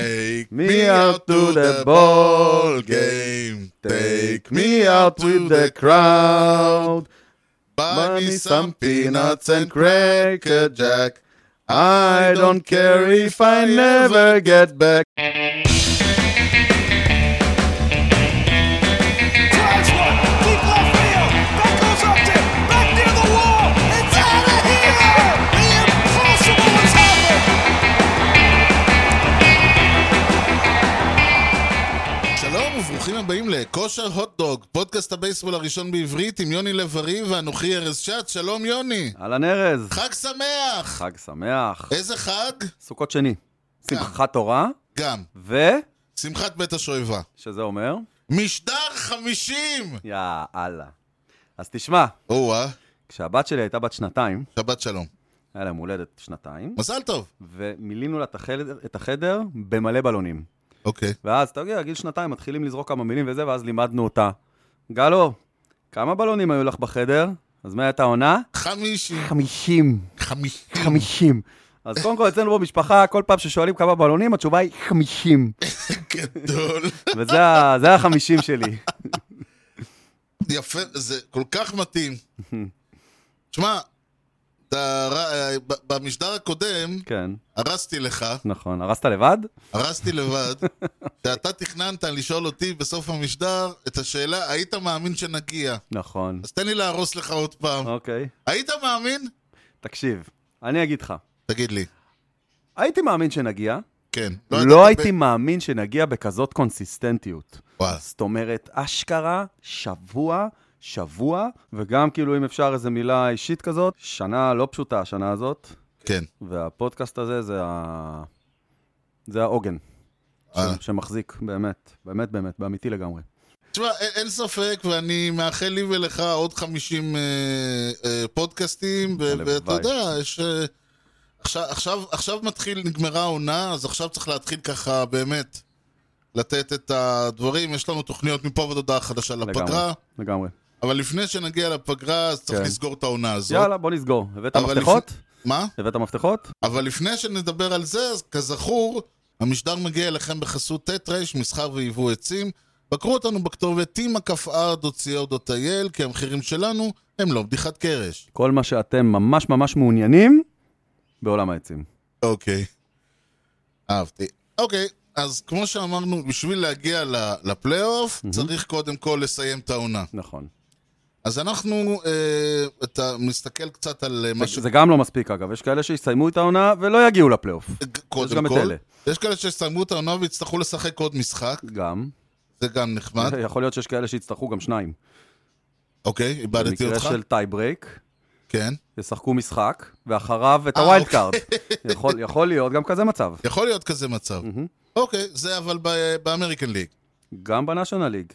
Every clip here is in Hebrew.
Take me out to the ball game. Take me out with the crowd. Buy me some peanuts and cracker jack. I don't care if I never get back. Drives one, deep left field. That goes up to, back near the wall. It's out of here. The impossible has happened. שלום וברוכים הבאים לכושר הוטדוג, פודקאסט הבייסבול הראשון בעברית עם יוני לב-ארי ואנוכי ארז שץ. שלום יוני. אהלן ארז, חג שמח! חג שמח, איזה חג? סוכות שני, שמחת תורה, גם. ו... שמחת בית השואבה. שזה אומר? משדר חמישים! יאללה. אז תשמע, או-אה, כשהבת שלי הייתה בת שנתיים, שבת שלום. היה לה יום הולדת שנתיים, מזל טוב. ומילאנו לה את החדר, את החדר במלא בלונים. אוקיי. ואז, אתה יודע, גיל שנתיים מתחילים לזרוק כמה מילים וזה, ואז לימדנו אותה. גלו, כמה בלונים היו לך בחדר? אז מה הייתה העונה? חמישים. חמישים. חמישים. חמישים. אז קודם כל, אצלנו במשפחה, כל פעם ששואלים כמה בלונים, התשובה היא חמישים. גדול. וזה ה- זה החמישים שלי. יפה, זה כל כך מתאים. שמע, אתה ר- ב- במשדר הקודם כן, הרסתי לך, נכון. הרסת לבד? הרסתי לבד, שאתה תכננת לשאול אותי בסוף המשדר את השאלה, היית מאמין שנגיע? נכון. אז תן לי להרוס לך עוד פעם. אוקיי. היית מאמין? תקשיב, אני אגיד לך. תגיד לי. הייתי מאמין שנגיע, כן. לא הייתי מאמין שנגיע בכזאת קונסיסטנטיות. וואלה. זאת אומרת, אשכרה, שבוע, שבוע, וגם כאילו אם אפשר איזו מילה אישית כזאת, שנה לא פשוטה השנה הזאת, כן. והפודקאסט הזה זה ה... זה העוגן. ש- אה. שמחזיק, באמת, באמת, באמת, באמיתי לגמרי. תשמע, אין, אין ספק, ואני מאחל לי ולך עוד 50 אה, אה, פודקאסטים, ו- הלוואי. ואתה יודע, יש... אה, עכשיו, עכשיו, עכשיו מתחיל, נגמרה העונה, אז עכשיו צריך להתחיל ככה, באמת, לתת את הדברים. יש לנו תוכניות מפה ועד הודעה חדשה לפגרה, לגמרי, לגמרי. אבל לפני שנגיע לפגרה, אז צריך כן. לסגור את העונה הזאת. יאללה, בוא נסגור. הבאת אבל מפתחות? מה? הבאת מפתחות? אבל לפני שנדבר על זה, אז כזכור, המשדר מגיע אליכם בחסות ט' ר' מסחר ויבוא עצים. בקרו אותנו בכתובת tima.co.il, כי המחירים שלנו הם לא בדיחת קרש. כל מה שאתם ממש ממש מעוניינים בעולם העצים. אוקיי. אהבתי. אוקיי, אז כמו שאמרנו, בשביל להגיע ל- לפלייאוף, צריך קודם כל לסיים את העונה. נכון. אז אנחנו, אה, אתה מסתכל קצת על אה, מה ש... זה גם לא מספיק, אגב. יש כאלה שיסיימו את העונה ולא יגיעו לפלייאוף. יש קודם גם את כל. אלה. יש כאלה שסיימו את העונה ויצטרכו לשחק עוד משחק, גם. זה גם נחמד. יכול להיות שיש כאלה שיצטרכו גם שניים. אוקיי, איבדתי במקרה אותך. של טייברייק, כן. ישחקו משחק, ואחריו את אה, הווילד אוקיי. קארד. יכול- יכול להיות גם כזה מצב. יכול להיות כזה מצב. מהמם. אוקיי, זה אבל ב- באמריקן ליג. גם בנאשונל ליג.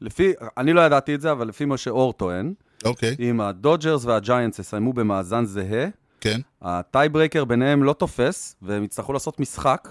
לפי, אני לא ידעתי את זה, אבל לפי מה שאור טוען, אוקיי, אם הדודג'רס והג'יינטס יסיימו במאזן זהה, כן. הטייברייקר ביניהם לא תופס, והם יצטרכו לעשות משחק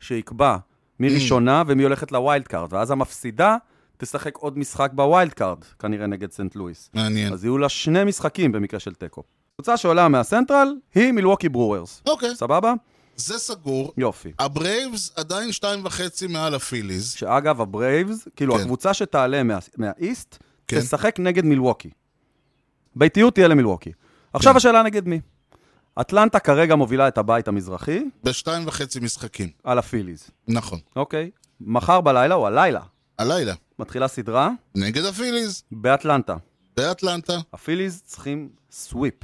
שיקבע מי Mm. ראשונה ומי הולכת לווילד קארד, ואז המפסידה תשחק עוד משחק בווילד קארד, כנראה נגד סנט לואיס. מעניין. אז יהיו לה שני משחקים במקרה של תיקו. קבוצה שעולה מהסנטרל היא מילווקי ברוררס. אוקיי, סבבה? זה סגור. יופי. הברייבס עדיין שתיים וחצי מעל הפיליז. שאגב, הברייבס, כאילו כן. הקבוצה שתעלה מה- מהאיסט, כן. תשחק נגד מילווקי. ביתיות תהיה למילווקי. כן. עכשיו השאלה נגד מי. אטלנטה כרגע מובילה את הבית המזרחי בשתיים וחצי משחקים. על הפיליז. נכון. אוקיי. מחר בלילה, או הלילה, הלילה. מתחילה סדרה נגד הפיליז. באטלנטה. באטלנטה. הפיליז צריכים סוויפ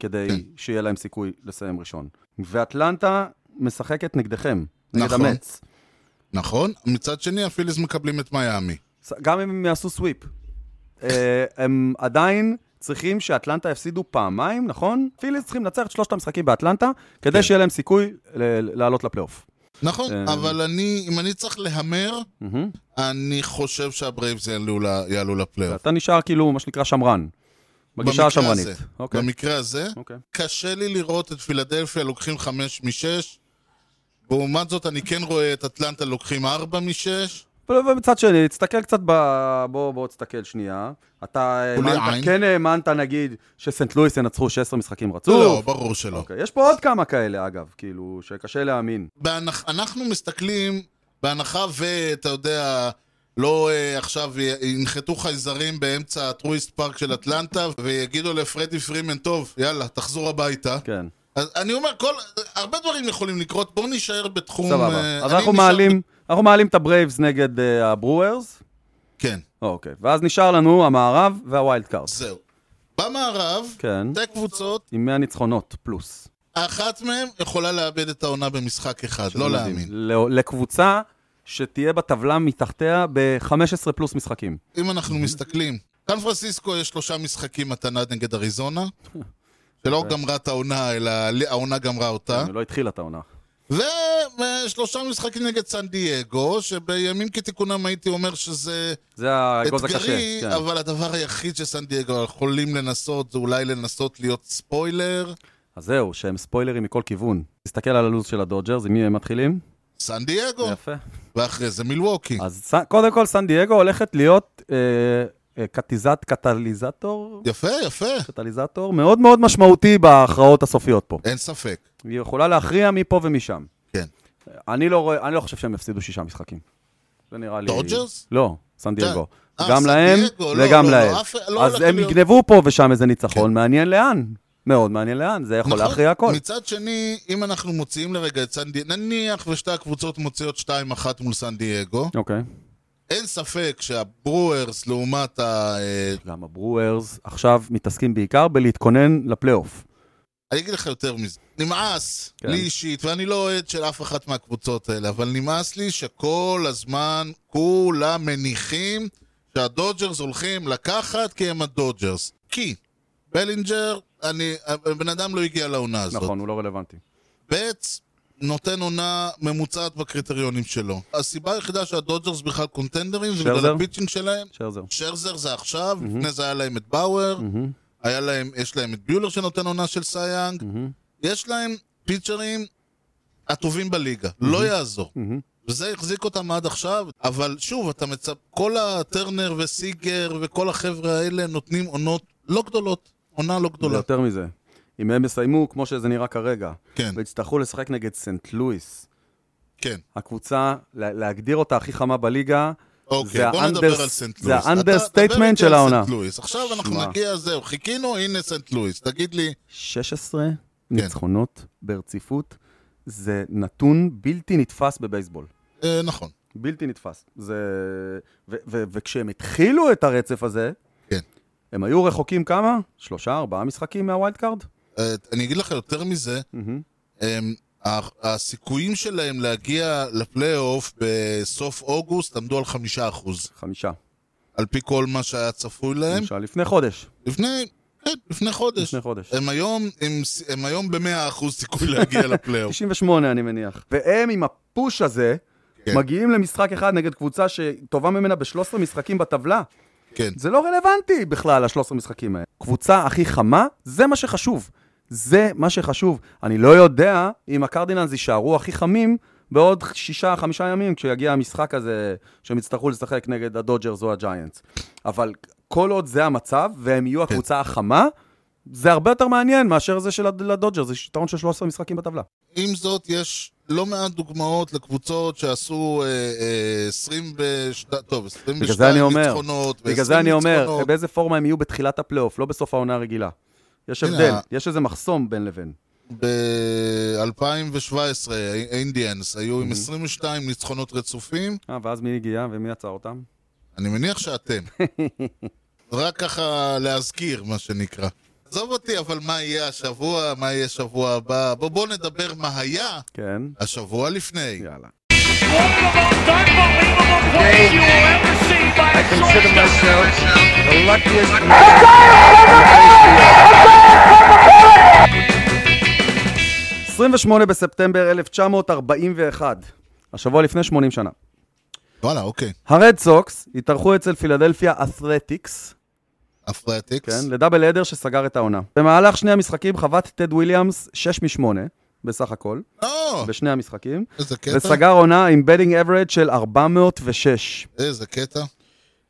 כדי כן. שיהיה להם סיכוי לסיים ראשון. ואטלנטה משחקת נגדכם, נגד נכון. המץ. נכון. מצד שני, הפיליז מקבלים את מיאמי. ס- גם אם הם יעשו סוויפ. אה, הם עדיין צריכים שאטלנטה יפסידו פעמיים, נכון? פיליז צריכים לנצח את שלושת המשחקים באטלנטה, כדי כן. שיהיה להם סיכוי ל- לעלות לפלייאוף. נכון, אה. אבל אני, אם אני צריך להמר, מהמם. אני חושב שהברייבס יעלו ל- יעלו לפלייאוף. ואתה נשאר כאילו, מה שנקרא, שמרן. בגישה כן. במקרה השמרנית. הזה. אוקיי. במקרה הזה, אוקיי. קשה לי לראות את פילדלפיה לוקחים חמש משש. לעומת זאת, אני כן רואה את אטלנטה לוקחים ארבע משש. אבל ומצד שני, תסתכל קצת ב... בוא, בוא, תסתכל שנייה. אתה כולי האמנת, עין. כן האמנת, נגיד, שסנט לואיס ינצחו 16 משחקים רצוף. לא, ברור שלא. אוקיי, יש פה עוד כמה כאלה, אגב, כאילו, שקשה להאמין. בהנח... אנחנו מסתכלים, בהנחה ואתה יודע, לא אה, עכשיו י- ינחתו חייזרים באמצע הטרויסט פארק של אטלנטה ויגידו לפרדי פרימן, טוב, יאללה, תחזור הביתה. כן, אז אני אומר, כל... הרבה דברים יכולים לקרות, בואו נישאר בתחום... אה, סבבה. אז אני אנחנו נשאר- מעלים, אנחנו מעלים את הברייבס נגד אה, הברוארס, כן, אוקיי. ואז נשאר לנו המערב והווילד קארד. זהו. במערב, כן, שתי קבוצות, עם 100 ניצחונות פלוס. אחת מהן יכולה לאבד את העונה במשחק אחד, לא מדהים. להאמין. לא- לקבוצה שתהיה בטבלה מתחתיה ב-15 פלוס משחקים. אם אנחנו מסתכלים, סן פרנסיסקו יש שלושה משחקים מתנה נגד אריזונה, שלא גמרה את העונה, אלא העונה גמרה אותה, לא התחילה את העונה. ושלושה משחקים נגד סן דייגו, שבימים כתיקונם הייתי אומר שזה זה האגוז הקשה. אתגרי, כן. אבל הדבר היחיד שסן דייגו יכולים לנסות זה אולי לנסות להיות ספוילר. אז זהו, שהם ספוילרים מכל כיוון. תסתכל על הלו"ז של הדודג'רס, עם מי הם מתחילים? סן דייגו, יפה. ואחרי זה מילווקי. אז ס- קודם כל, סן דייגו הולכת להיות אה, אה, קטיזת, קטליזטור, יפה, יפה, קטליזטור מאוד מאוד משמעותי בהכרעות הסופיות פה. אין ספק. היא יכולה להכריע מפה ומשם. כן. אני לא, רואה- אני לא חושב שהם יפסידו שישה משחקים. זה נראה לי... דודג'רס? לא, סן דייגו. אה, גם סן להם דייגו, לא, וגם לא, לא, להם. אף- לא אז הולך הם להיות- כן. יגנבו פה ושם איזה ניצחון, מעניין לאן. מאוד מעניין לאן, זה יכול נכון. להכריע הכל. מצד שני, אם אנחנו מוציאים לרגע את סן דייגו, נניח ושתי הקבוצות מוציאות 2-1 מול סן דייגו, אוקיי. אין ספק שהברוארס לעומת ה... אה, גם הברוארס עכשיו מתעסקים בעיקר בלהתכונן לפלייאוף. אני אגיד לך יותר מזה, נמאס כן. לי אישית, ואני לא אוהד של אף אחת מהקבוצות האלה, אבל נמאס לי שכל הזמן כולם מניחים שהדודג'רס הולכים לקחת כי הם הדודג'רס. כי בלינג'ר, אני, הבן אדם לא הגיע לעונה הזאת. נכון, הוא לא רלוונטי. בץ נותן עונה ממוצעת בקריטריונים שלו. הסיבה היחידה שהדודג'רס בכלל קונטנדרים זה בגלל שרזר? הפיצ'ינג שלהם. שרזר. שרזר זה עכשיו, לפני זה היה להם את באואר, היה להם, יש להם את ביולר שנותן עונה של סייאנג, יש להם פיצ'רים הטובים בליגה, לא יעזור. וזה החזיק אותם עד עכשיו, אבל שוב, אתה מצפ... כל הטרנר וסיגר וכל החבר'ה האלה נותנים עונות לא גדולות, עונה לא גדולה. יותר מזה. אם הם יסיימו, כמו שזה נראה כרגע, כן, ויצטרכו לשחק נגד סנט לואיס, כן. הקבוצה, לה- להגדיר אותה הכי חמה בליגה, אוקיי, זה בוא ה- נדבר under- על סנט זה לואיס. ה- אתה- understatement דבר איתי של על סנט העונה. לואיס. עכשיו אנחנו שמע. נגיע, זהו, חיכינו, הנה סנט לואיס. תגיד לי, 16 כן. ניצחונות ברציפות, זה נתון בלתי נתפס בבייסבול. אה, נכון. בלתי נתפס. זה... ו- ו- וכשהם התחילו את הרצף הזה, כן. הם היו רחוקים כמה? שלושה, ארבעה משחקים מהווילד קארד? אה, אני אגיד לך יותר מזה, אמ, ה- הסיכויים שלהם להגיע לפלייאוף בסוף אוגוסט עמדו על חמישה אחוז, חמישה. על פי כל מה שהיה צפוי להם. חמישה לפני חודש. לפני, כן, לפני חודש. לפני חודש. הם היום, הם, ס- הם היום במאה אחוז סיכוי להגיע לפלייאוף. 98 אני מניח. והם עם הפוש הזה, כן. מגיעים למשחק אחד נגד קבוצה שטובה ממנה ב-13 משחקים בטבלה. כן. זה לא רלוונטי בכלל, ה-13 משחקים האלה. קבוצה הכי חמה, זה מה שחשוב. זה מה שחשוב. אני לא יודע אם הקרדינלס יישארו הכי חמים בעוד שישה, חמישה ימים, כשיגיע המשחק הזה שהם יצטרכו לשחק נגד הדודג'רס או הג'יינטס. אבל כל עוד זה המצב, והם יהיו הקבוצה החמה, זה הרבה יותר מעניין מאשר זה של הד- לדודג'רס, זה יתרון של 13 משחקים בטבלה. עם זאת, יש לא מעט דוגמאות לקבוצות שעשו אה, אה, 20 וש... טוב, 22 בגלל זה אני אומר, ניצחונות. בגלל ו-20 זה אני אומר, ניצחונות. באיזה פורמה הם יהיו בתחילת הפלייאוף, לא בסוף העונה הרגילה. יש הנה, הבדל, ה- יש איזה מחסום בין לבין. ב-2017, האינדיאנס היו Mhm. עם 22 ניצחונות רצופים, אה, ואז מי הגיע ומי עצר אותם? אני מניח שאתם. רק ככה להזכיר, מה שנקרא. עזוב אותי, אבל מה יהיה השבוע, מה יהיה שבוע הבא. בוא, בוא נדבר מה היה כן, השבוע לפני. One יאללה. of the most unbelievable plays you will ever see by a shortstop. Yeah. 28 בספטמבר 1941, השבוע לפני 80 שנה. וואלה, אוקיי. הרד סוקס התארחו אצל פילדלפיה כן, את'לטיקס, אפרטיקס. כן, לדאבל הדר שסגר את העונה. במהלך שני המשחקים חבט טד וויליאמס 6 מ-8, בסך הכל, לא, בשני המשחקים, איזה קטע. וסגר עונה עם בדינג אברד של 406. איזה קטע.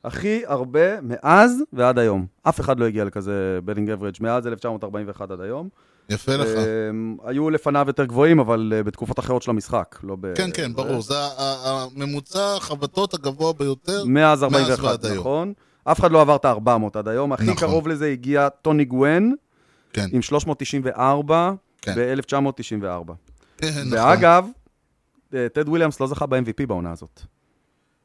הכי הרבה מאז ועד היום. אף אחד לא הגיע לכזה בדינג אברג' מאז 1941 עד היום. יפה לך. אמ, היו לפניו יותר גבוהים, אבל אה, בתקופות אחרות של המשחק, לא ב... כן, כן, ברור. זה ה- ה- הממוצע החבטות הגבוה ביותר. אה, מאז ועד 41, היום. נכון. אף אחד לא עבר את ה-400 עד היום. הכי נכון. קרוב לזה הגיע טוני גוון, כן, עם 394 כן. ב-1994. כן, נכון. ואגב, אה, טד וויליאמס לא זכה ב-MVP בעונה הזאת.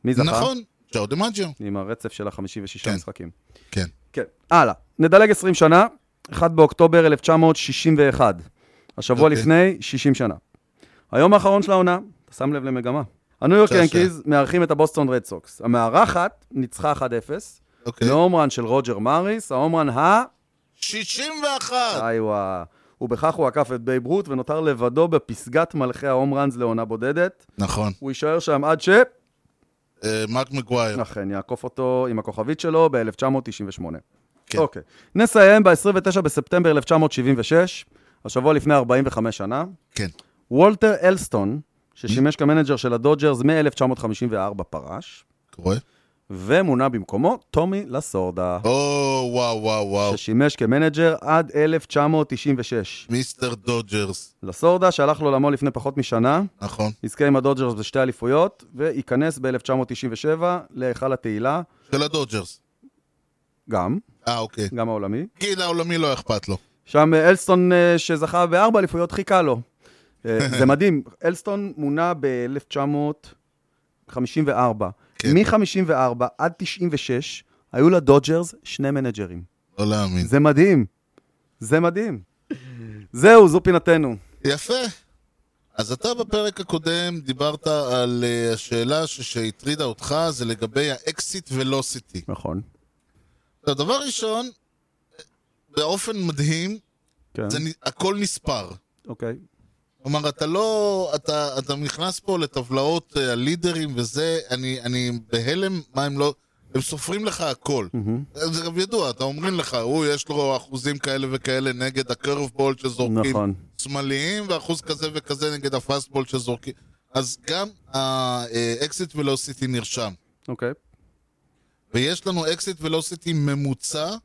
מי זכה? נכון, ג'ו דה מג'יו. עם הרצף של ה-56 כן. משחקים. כן. כן, הלאה. נדלג 20 שנה, 1 באוקטובר 1961. השבוע אוקיי. לפני 60 שנה. היום האחרון של העונה, אתה שם לב למגמה. הניו יורק שעשע. ינקיז מארחים את הבוסטון רד סוקס. המארחת ניצחה 1-0, אוקיי. להומרן של רוג'ר מריס, ההומרן ה... 61! איווה. ובכך הוא עקף את בייב רות ונותר לבדו בפסגת מלכי ההומרנס לעונה בודדת. נכון. הוא יישאר שם עד ש... אה, מרק מגווייר. אכן, יעקוף אותו עם הכוכבית שלו ב-1998. כן. אוקיי. נסיים ב-29 בספטמבר 1976, השבוע לפני 45 שנה. כן. וולטר אלסטון, ששימש כמנג'ר של הדודג'רס מ-1954 פרש, קורה? ומונה במקומו טומי לסורדה, או, וואו, וואו, וואו. ששימש כמנג'ר עד 1996. מיסטר דודג'רס. לסורדה, שהלך לעולמו לפני פחות משנה, נכון. יזכה עם הדודג'רס בשתי אליפויות, וייכנס ב-1997 להיכל התהילה, של הדודג'רס. גם, אה, אוקיי. גם העולמי. גיל העולמי לא אכפת לו. שם אה, אלסטון אה, שזכה בארבע אליפויות חיכה לו. אה, זה מדהים, אלסטון מונה ב-1954. כן. מ-54 עד 96 היו לדודג'רס שני מנג'רים. לא להאמין. זה מדהים. זה מדהים. זהו, זו פינתנו. יפה. אז אתה בפרק הקודם דיברת על אה, השאלה ש- שהטרידה אותך, זה לגבי האקסיט ולוסיטי. נכון. עכשיו, דבר ראשון, אה, באופן מדהים, כן, זה, נ- הכל נספר. אוקיי. כלומר, אתה לא... אתה, אתה נכנס פה לטבלאות אה, הלידרים וזה, אני, אני בהלם מה הם לא... הם סופרים לך הכל. אה, מהמם. זה גם ידוע, אתה אומרים לך, הוא, יש לו אחוזים כאלה וכאלה נגד הקרבבול שזורקים נכון. שמאליים, ואחוז כזה וכזה נגד הפסטבול שזורקים. אז גם האקזיט ולוסיטי נרשם. אוקיי. ויש לנו אקזיט ולוסיטי ממוצע,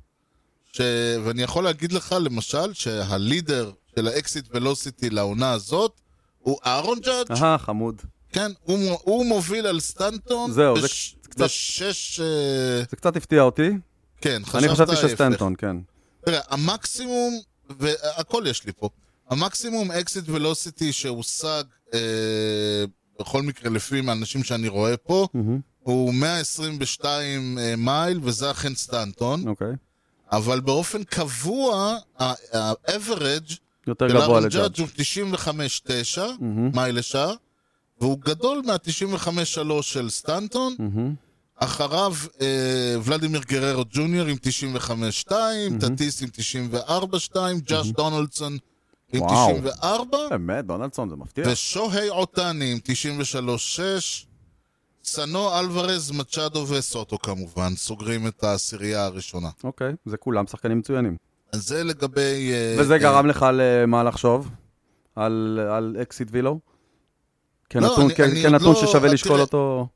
ש... ואני יכול להגיד לך, למשל, שהלידר של האקזיט ולוסיטי לעונה הזאת הוא אהרון ג'אדג'. אהה, חמוד. כן, הוא, מו- הוא מוביל על סטנטון. זהו, זה בש... קצת- בשש... אה, זה קצת הפתיע אותי. כן, חשבת אני חשבתי ההפך. שסטנטון, כן. תראה, המקסימום, והכל יש לי פה, המקסימום אקזיט ולוסיטי שהושג, אה, בכל מקרה לפי מהאנשים שאני רואה פה, מהמם. הוא 122 אה, מייל, וזה אכן סטנטון, אוקיי. אבל באופן קבוע, ה-average יותר של גבוה ארון לג'אדג'. ג'אדג' הוא 95.9 מייל לשעה, והוא גדול מה-95.3 של סטנטון, מהמם. אחריו אה, ולדימיר גררו ג'וניור עם 95-2, טטיס עם 94-2, ג'אש דונלדסון עם וואו. אה, 94, באמת, דונלדסון זה מפתיע. ושוהי עוטני עם 93-6, סנו אלוורז, מצ'אדו וסוטו כמובן, סוגרים את העשירייה הראשונה. אוקיי, זה כולם שחקנים מצוינים. אז זה לגבי... אה, וזה אה, גרם לך למה לחשוב? על, על אקסיט וילו? כנתון, אני- כ- אני עוד כנתון לא- ששווה אה, לשקול תראה. אותו.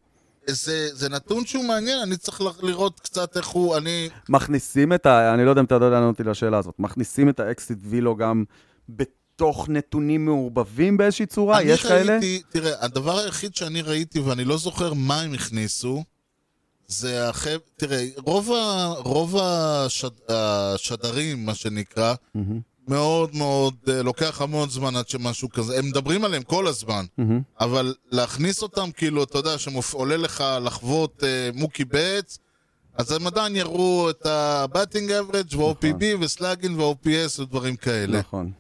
זה, זה נתון שהוא מעניין, אני צריך ל- לראות קצת איך הוא, אני... מכניסים את ה... אני לא יודע אם אתה יודע לענות אותי לשאלה הזאת. מכניסים את האקסיט וילו גם בתוך נתונים מעורבבים באיזושהי צורה? אני יש כאלה? ראיתי, תראה, הדבר היחיד שאני ראיתי, ואני לא זוכר מה הם הכניסו, זה החב... תראה, רוב, ה... רוב השד... השדרים, מה שנקרא, מהמם, מאוד מאוד, אה, לוקח המון זמן עד שמשהו כזה, הם מדברים עליהם כל הזמן, מהמם. אבל להכניס אותם, כאילו, אתה יודע, שעולה לך לחוות אה, מוקי בץ, אז הם עדיין יראו את הבטינג אברג' ו-OPB וסלאגין ו-OPS ודברים כאלה. נכון.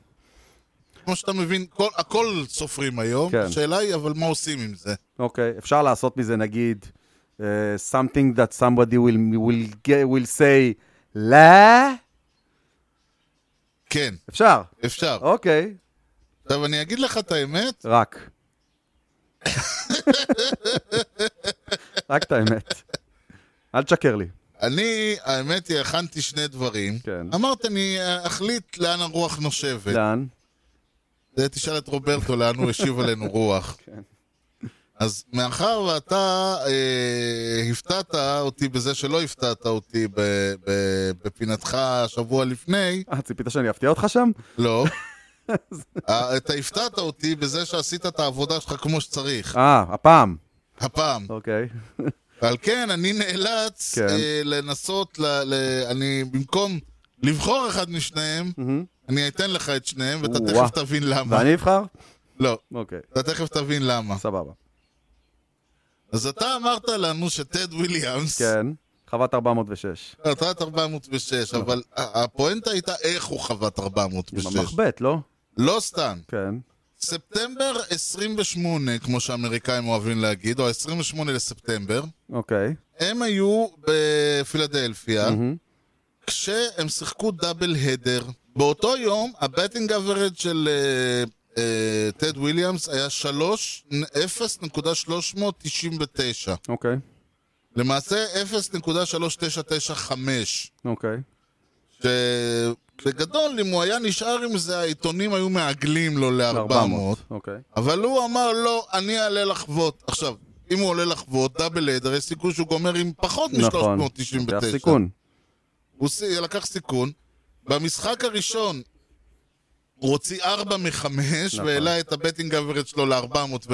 כמו שאתה מבין, כל, הכל סופרים היום, כן. השאלה היא, אבל מה עושים עם זה? אוקיי, אפשר לעשות מזה נגיד uh, something that somebody will, will, get, will say לה? כן, אפשר, אפשר. אוקיי, עכשיו, אני אגיד לך את האמת, רק. רק את האמת. אל תשקר לי. אני, האמת היא, הכנתי שני דברים. כן. לא. אמרת, אני אה, אחליט לאן הרוח נושבת. לאן? זה תשאל את רוברטו לאן הוא השיב עלינו רוח. כן. אז מאחר ואתה אה, הפתעת אותי בזה שלא הפתעת אותי ב, ב, בפינתך שבוע לפני, אה, ציפית שאני אפתיע אותך שם? לא. אה, אתה הפתעת אותי בזה שעשית את העבודה שלך כמו שצריך, אה, הפעם. הפעם. אוקיי. ועל כן אני נאלץ כן. אה, לנסות, ל, ל, אני במקום לבחור אחד משניהם, אני אתן לך את שניהם ואתה או-אה. תכף תבין למה. ואני אבחר? לא, אוקיי, אתה תכף תבין למה. סבבה. אז אתה אמרת לנו שטד וויליאמס, כן. חוות 406. חוות 406, אה. אבל ה- הפואנטה הייתה איך הוא חוות 406. עם המחבט, לא? לא סתם. כן. ספטמבר 28, כמו שהאמריקאים אוהבים להגיד, או 28 לספטמבר, אוקיי. הם היו בפילדלפיה, כשהם שיחקו דאבל הדר. באותו יום, הבטינג אברד של אה, אה, טד וויליאמס היה 3, 0.399. אוקיי. למעשה 0.3995. אוקיי. שבגדול, אם הוא היה נשאר עם זה, העיתונים היו מעגלים לו ל-400. אוקיי. אבל הוא אמר, לא, אני אעלה לחוות. עכשיו, אם הוא עולה לחוות, דאבל הדר, יש סיכוי שהוא גומר עם פחות נכון. מ-399. לוקח סיכון. הוא ס- לקח סיכון. במשחק הראשון הוא הוציא 4 מ-5, נכון. והעלה את הבטינג אברד שלו ל-404.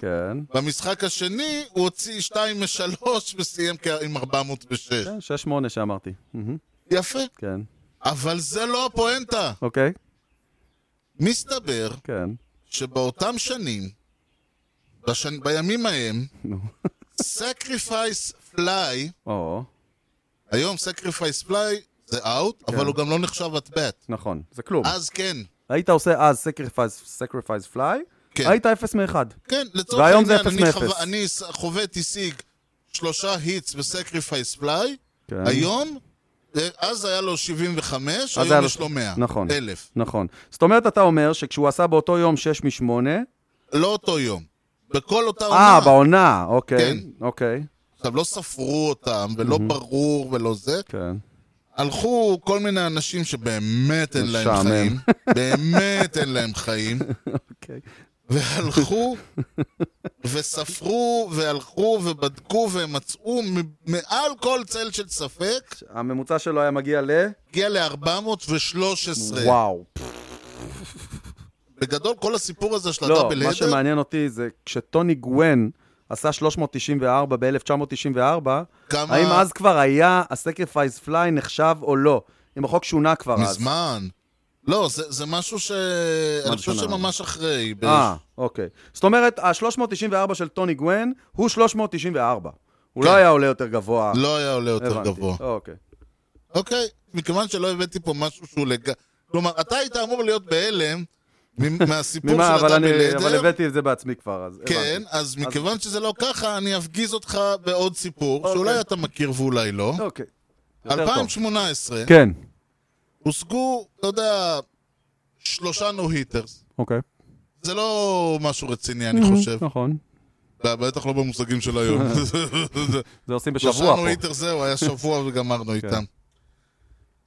כן. במשחק השני הוא הוציא 2 מ-3 וסיים כ- עם 406. כן, 6-8 שאמרתי. מהמם, יפה. כן. אבל זה לא הפואנטה. אוקיי. מסתבר כן. שבאותם שנים, בשנ... בימים ההם, נו. סקריפייס פליי, או, היום סקריפייס פליי זה אאוט, אבל כן. הוא גם לא נחשב את בט. נכון. זה כלום. אז כן, היית עושה אז sacrifice, sacrifice fly, כן. היית 0 מ-1. כן, לצורך והיום זה העניין, אפס אני, מאפס. חו... אני ס- חובט השיג שלושה היטס בסקריפייס פליי, כן. היום, אה, אז היה לו 75, אז היה היום לו- יש לו 100. נכון. אלף. נכון. זאת אומרת, אתה אומר שכשהוא עשה באותו יום 6 מ-8, לא אותו יום. בכל אותה אה, עונה. בעונה, אוקיי. כן. אוקיי, עכשיו, לא ספרו אותם, ולא ברור, ולא זה. כן. הלכו כל מיני אנשים שבאמת אין להם משעמם. חיים, באמת אין להם חיים, אוקיי. והלכו וספרו והלכו ובדקו והם מצאו מ- מעל כל צל של ספק, הממוצע שלו היה מגיע ל... הגיע ל-413. וואו. בגדול, כל הסיפור הזה של לא, הדאבל מה הדר, שמעניין אותי זה כשטוני גוון עשה 394 ב-1994, כמה- האם אז כבר היה הסקריפייס פליי נחשב או לא? אם החוק שונה כבר אז. מזמן. לא, זה זה משהו ש... אני חושב שונה? שממש אחרי. ב- אה, אוקיי. זאת אומרת, ה-394 של טוני גוון הוא 394. הוא כן. לא היה עולה יותר גבוה. לא היה עולה יותר הבנתי. גבוה. אוקיי. אוקיי, מכיוון שלא הבאתי פה משהו שהוא לג... כלומר, אתה היית אמור להיות בהלם מ- מהסיפור של ממה, אבל הדאבל אני- הדר. אבל הבאתי את זה בעצמי כבר, אז הבנתי. כן, אז מכיוון שזה לא ככה, אני אפגיז אותך בעוד סיפור, שאולי אתה מכיר ואולי לא. אוקיי. יותר טוב. 2018, כן. הושגו, אתה יודע, שלושה נו-היטרס. אוקיי. זה לא משהו רציני, אני חושב. נכון. בטח לא במושגים של היום. זה עושים שלושה בשבוע פה. נו-היטר זהו, היה שבוע וגמרנו כן. איתם.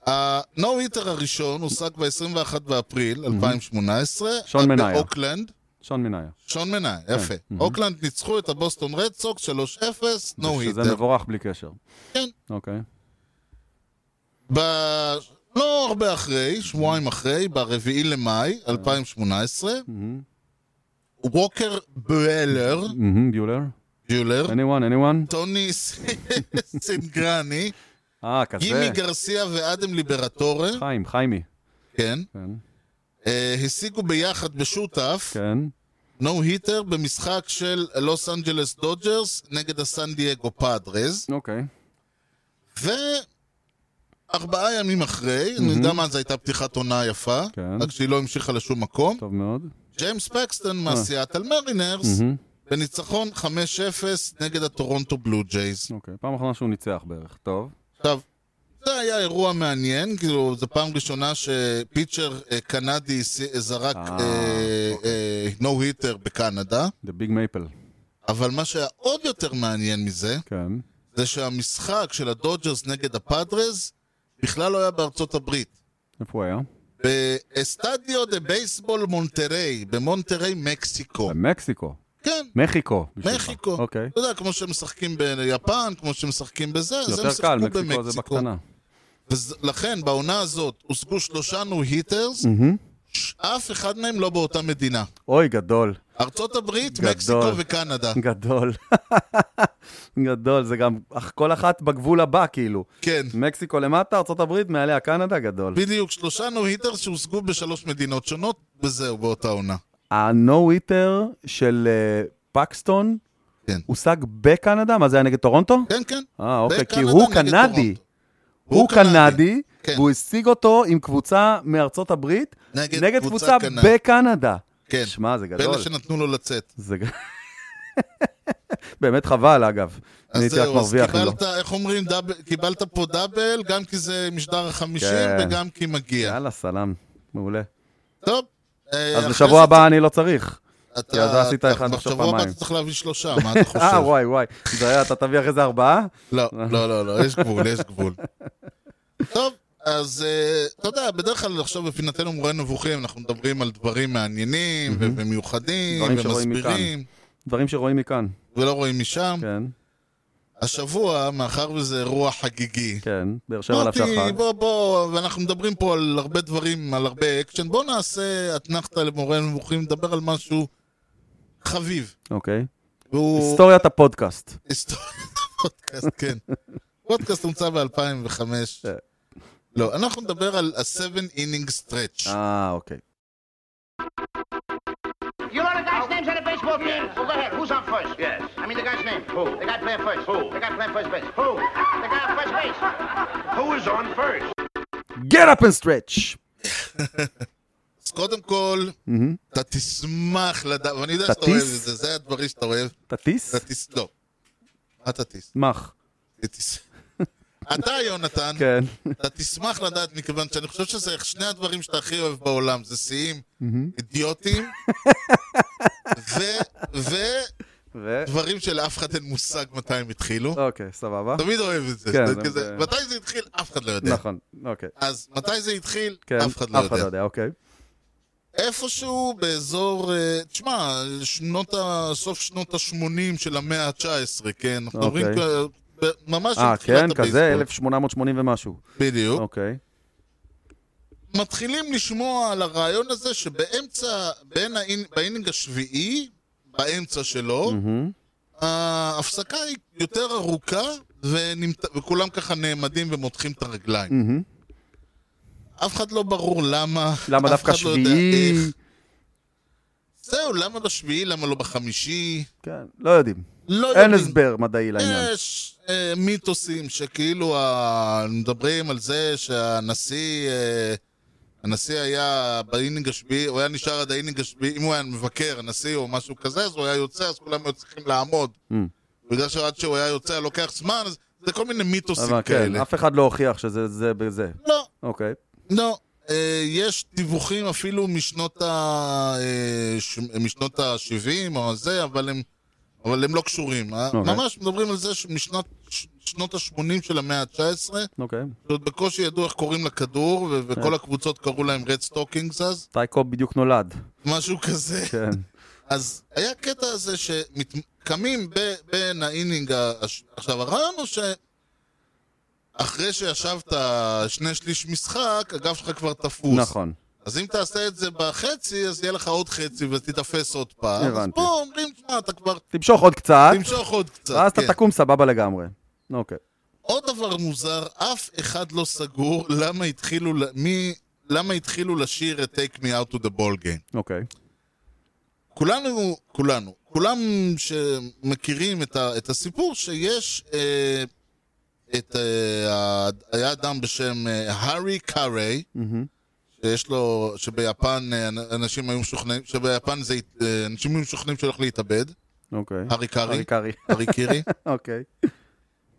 הנו-היטר הראשון הושג ב-21 באפריל 2018. Mhm. שון מניה. כן. Mhm. באוקלנד. שון מניה. שון מניה, יפה. אוקלנד ניצחו את הבוסטון רד סוקס 3-0, שזה נו-היטר. מבורך בלי קשר. כן. אוקיי. ב- לא הרבה אחרי, שבועיים אחרי, ברביעי למאי אה. 2018, ווקר בואלר, מהמם, ביולר? ביולר, anyone, anyone? טוני ס- סינגרני, אה, כזה. גימי גרסיה ואדם ליברטורה, חיים, חיימי. כן, כן. אה, השיגו ביחד בשותף, כן. נו היטר, במשחק של לוס אנג'לס דודג'רס נגד הסן דייגו פאדרז, אוקיי. וארבעה ימים אחרי, אני גם אז הייתה פתיחת עונה יפה, כן. רק שהיא לא המשיכה לשום מקום, טוב מאוד. ג'יימס פקסטון מהסיאטל מרינרס, אה. מהמם. בניצחון 5-0 נגד הטורונטו בלו ג'ייז. אוקיי. פעם אחרונה שהוא ניצח בערך. טוב. עכשיו, זה היה אירוע מעניין, כאילו, זו פעם ראשונה שפיצ'ר אה, קנדי ס- אה, זרק אה, נו היטר בקנדה, The big maple. אבל מה שהיה עוד יותר מעניין מזה, כן. זה שהמשחק של הדודג'רס נגד הפאדרז בכלל לא היה בארצות הברית. איפה הוא היה? באסטדיו דה בייסבול מונטריי, במונטריי, מקסיקו. במקסיקו. כן, מחיקו. בשבילך. מקסיקו. אה, אוקיי. אתה יודע, כמו שמשחקים ביפן, כמו שמשחקים בזה, אז הם יותר קל, שיחקו מקסיקו זה במקסיקו. בקטנה. ולכן, בעונה הזאת הושגו שלושה נו-היטרס, אף אחד מהם לא באותה מדינה. אוי, גדול. ארצות הברית, גדול. מקסיקו וקנדה. גדול. גדול, זה גם אך כל אחת בגבול הבא, כאילו. כן. מקסיקו למטה, ארה"ב, מעליה קנדה, גדול. בדיוק, שלושה נו-היטרס שהושגו בשלוש מדינות שונות, וזהו, באותה עונה. הנו-היטר של אה, פקסטון כן. הושג בקנדה? מה זה היה נגד טורונטו? כן, כן. אה, אוקיי, כי בקנדה הוא נגד קנדי. טורונטו. הוא קנדי, כן. והוא השיג אותו עם קבוצה מארצות הברית, נגד נגד קבוצה קבוצה קנדית. בקנדה. כן. שמע, זה גדול. ואלה שנתנו לו לצאת. זה ג- באמת חבל, אגב. אני אז הייתי רק זהו, אז מרוויח אם לא. קיבלת, איך אומרים, דאבל- קיבלת פה דאבל, גם כי זה משדר החמישים כן. וגם כי מגיע. יאללה, סלאם, מעולה. טוב. אה, אז אחרי בשבוע הבא אני לא צריך. זה- כי אז עשית אתה- אחד עכשיו בשבוע הבא פעמיים. אתה צריך להביא שלושה, מה אתה חושב? אה, וואי, וואי. זה היה, אתה תביא אחרי זה ארבעה? לא, אה. לא, לא, לא, יש גבול, יש גבול. טוב, אז אה, אתה יודע, בדרך כלל עכשיו בפינתנו מורה נבוכים, אנחנו מדברים על דברים מעניינים ומיוחדים דברים שרואים ומסבירים, דברים שרואים מכאן. ולא רואים משם. כן, השבוע, מאחר וזה אירוע חגיגי, כן. באר שבע לאף אמרתי, שחר. בוא, בוא, ואנחנו מדברים פה על הרבה דברים, על הרבה אקשן, בוא נעשה אתנחתא למורה נבוכים, נדבר על משהו חביב. אוקיי. והוא... היסטוריית הפודקאסט. היסטוריה פודקאסט, כן. פודקאסט הומצא ב-2005. כן. לא, אנחנו נדבר על ה-7 אינינג סטרץ'. אה, אוקיי. You know the guy's names on the baseball team? Well, go ahead. Who's on first? Yes. I mean the guy's name. Who? The guy playing first. Who? The guy playing first base. Who? The guy on first base. Who is on first? Get up and stretch! אז קודם כל, אתה תשמח לדעת, ואני יודע אתה שאתה אוהב את טיס? זה, זה הדברים שאתה אוהב. תטיס? אתה תס... לא. אתה תס... מח. תס... אתה, יונתן, כן. אתה תשמח לדעת, מכיוון שאני חושב שזה שני הדברים שאתה הכי אוהב בעולם, זה שיאים אידיוטיים, ו- ו... ודברים שלאף אחד אין מושג מתי הם התחילו. אוקיי, סבבה. תמיד אוהב את זה. כן, זה זה- כזה, זה- מתי זה התחיל? אף אחד לא יודע. נכון, אוקיי. אז מתי זה התחיל? כן, אף אחד לא יודע. אוקיי. איפשהו באזור, אה, תשמע, שנות ה... סוף שנות ה-80 של המאה ה-19, כן? אנחנו מדברים אוקיי. כבר- ב- ממש עם אה, תחילת כן, כזה הבייסבול. 1880 ומשהו. בדיוק. אוקיי. מתחילים לשמוע על הרעיון הזה שבאמצע, בין האינ... באינינג השביעי, באמצע שלו, מהמם. ההפסקה היא יותר ארוכה, ונמת... וכולם ככה נעמדים ומותחים את הרגליים. מהמם. אף אחד לא ברור למה, למה אף דווקא אחד לא יודע שביעי? איך. זהו, למה בשביעי, למה לא בחמישי? כן, לא יודעים. לא אין יודעים. הסבר מדעי לעניין. יש אה, מיתוסים שכאילו ה... מדברים על זה שהנשיא, אה, הנשיא היה באינינג השביעי, הוא היה נשאר עד האינינג השביעי, אם הוא היה מבקר, הנשיא או משהו כזה, אז הוא היה יוצא, אז כולם היו צריכים לעמוד. Mm. בגלל שעד שהוא היה יוצא לוקח זמן, אז זה כל מיני מיתוסים אבל כן, כאלה. אף אחד לא הוכיח שזה זה בזה. לא, אוקיי. לא. אה, יש דיווחים אפילו משנות, ה... אה, ש... משנות ה-70 או זה, אבל הם, אבל הם לא קשורים. Okay. אוקיי. ממש מדברים על זה שמשנות ש... שנות ה-80 של המאה ה-19, אוקיי. שעוד בקושי ידעו איך קוראים לכדור, ו... כן. וכל הקבוצות קראו להם רד סטוקינגס אז, טייקו בדיוק נולד. משהו כזה. כן. אז היה קטע הזה שקמים ב... בין האינינג, ה... הש- עכשיו הרעיון הוא ש... אחרי שישבת שני שליש משחק, הגב שלך כבר תפוס. נכון. אז אם תעשה את זה בחצי, אז יהיה לך עוד חצי ותיתפס עוד פעם. אז הבנתי. פה אומרים, תשמע, אתה כבר תמשוך עוד קצת, תמשוך עוד קצת. ואז אתה כן. תקום סבבה לגמרי. אוקיי. עוד דבר מוזר, אף אחד לא סגור למה התחילו, ל- מי, למה התחילו לשיר את Take Me Out to the Ball Game. אוקיי. כולנו, כולנו, כולם שמכירים את, ה, את הסיפור, שיש אה, את, אה, ה- היה אדם בשם אה, הארי קארי, מהמם. שיש לו, שביפן אה, אנשים היו משוכנעים, שביפן זה, הת- אה, אנשים היו משוכנעים שהוא הולך להתאבד, אוקיי. הארי קארי, ארי קארי. הארי קירי, אוקיי.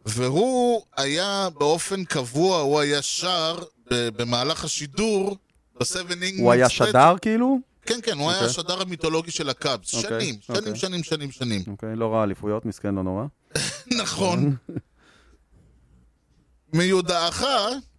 והוא היה באופן קבוע, הוא היה שר ב- במהלך השידור, בסבן אינגלס. הוא היה שדר כאילו? כן, כן, הוא היה אוקיי. השדר המיתולוגי של הקאבס, אוקיי, שנים, שנים, אוקיי. שנים, שנים, שנים. אוקיי, לא רע אליפויות, מסכן, לא נורא. נכון. מיודעך,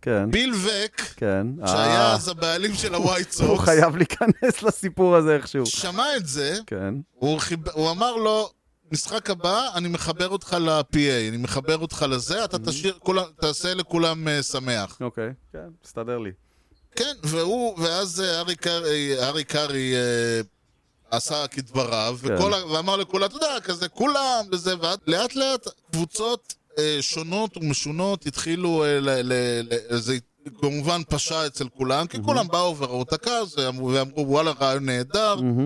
כן, ביל וק, כן. שהיה אה, אז הבעלים של הווייט הוא סוקס, חייב להיכנס לסיפור הזה איכשהו. שמע את זה, כן. הוא, חיב... הוא אמר לו, משחק הבא, אני מחבר אותך ל-PA, אני מחבר אותך לזה, אתה תשאיר, כולם, תעשה לכולם אה, שמח. אוקיי, כן, מסתדר לי. כן, והוא, ואז אה, ארי קארי, ארי קארי אה, עשה כדבריו, כן. וכל, ה- ואמר לכולם, אתה יודע, כזה כולם, וזה, ולאט לאט קבוצות אה, שונות ומשונות התחילו, אה, ל, ל, ל, זה כמובן פשע אצל כולם, כי כולם באו וראו את הכעס, ואמרו, ואמרו, וואלה, רעיון נהדר, Mm-hmm,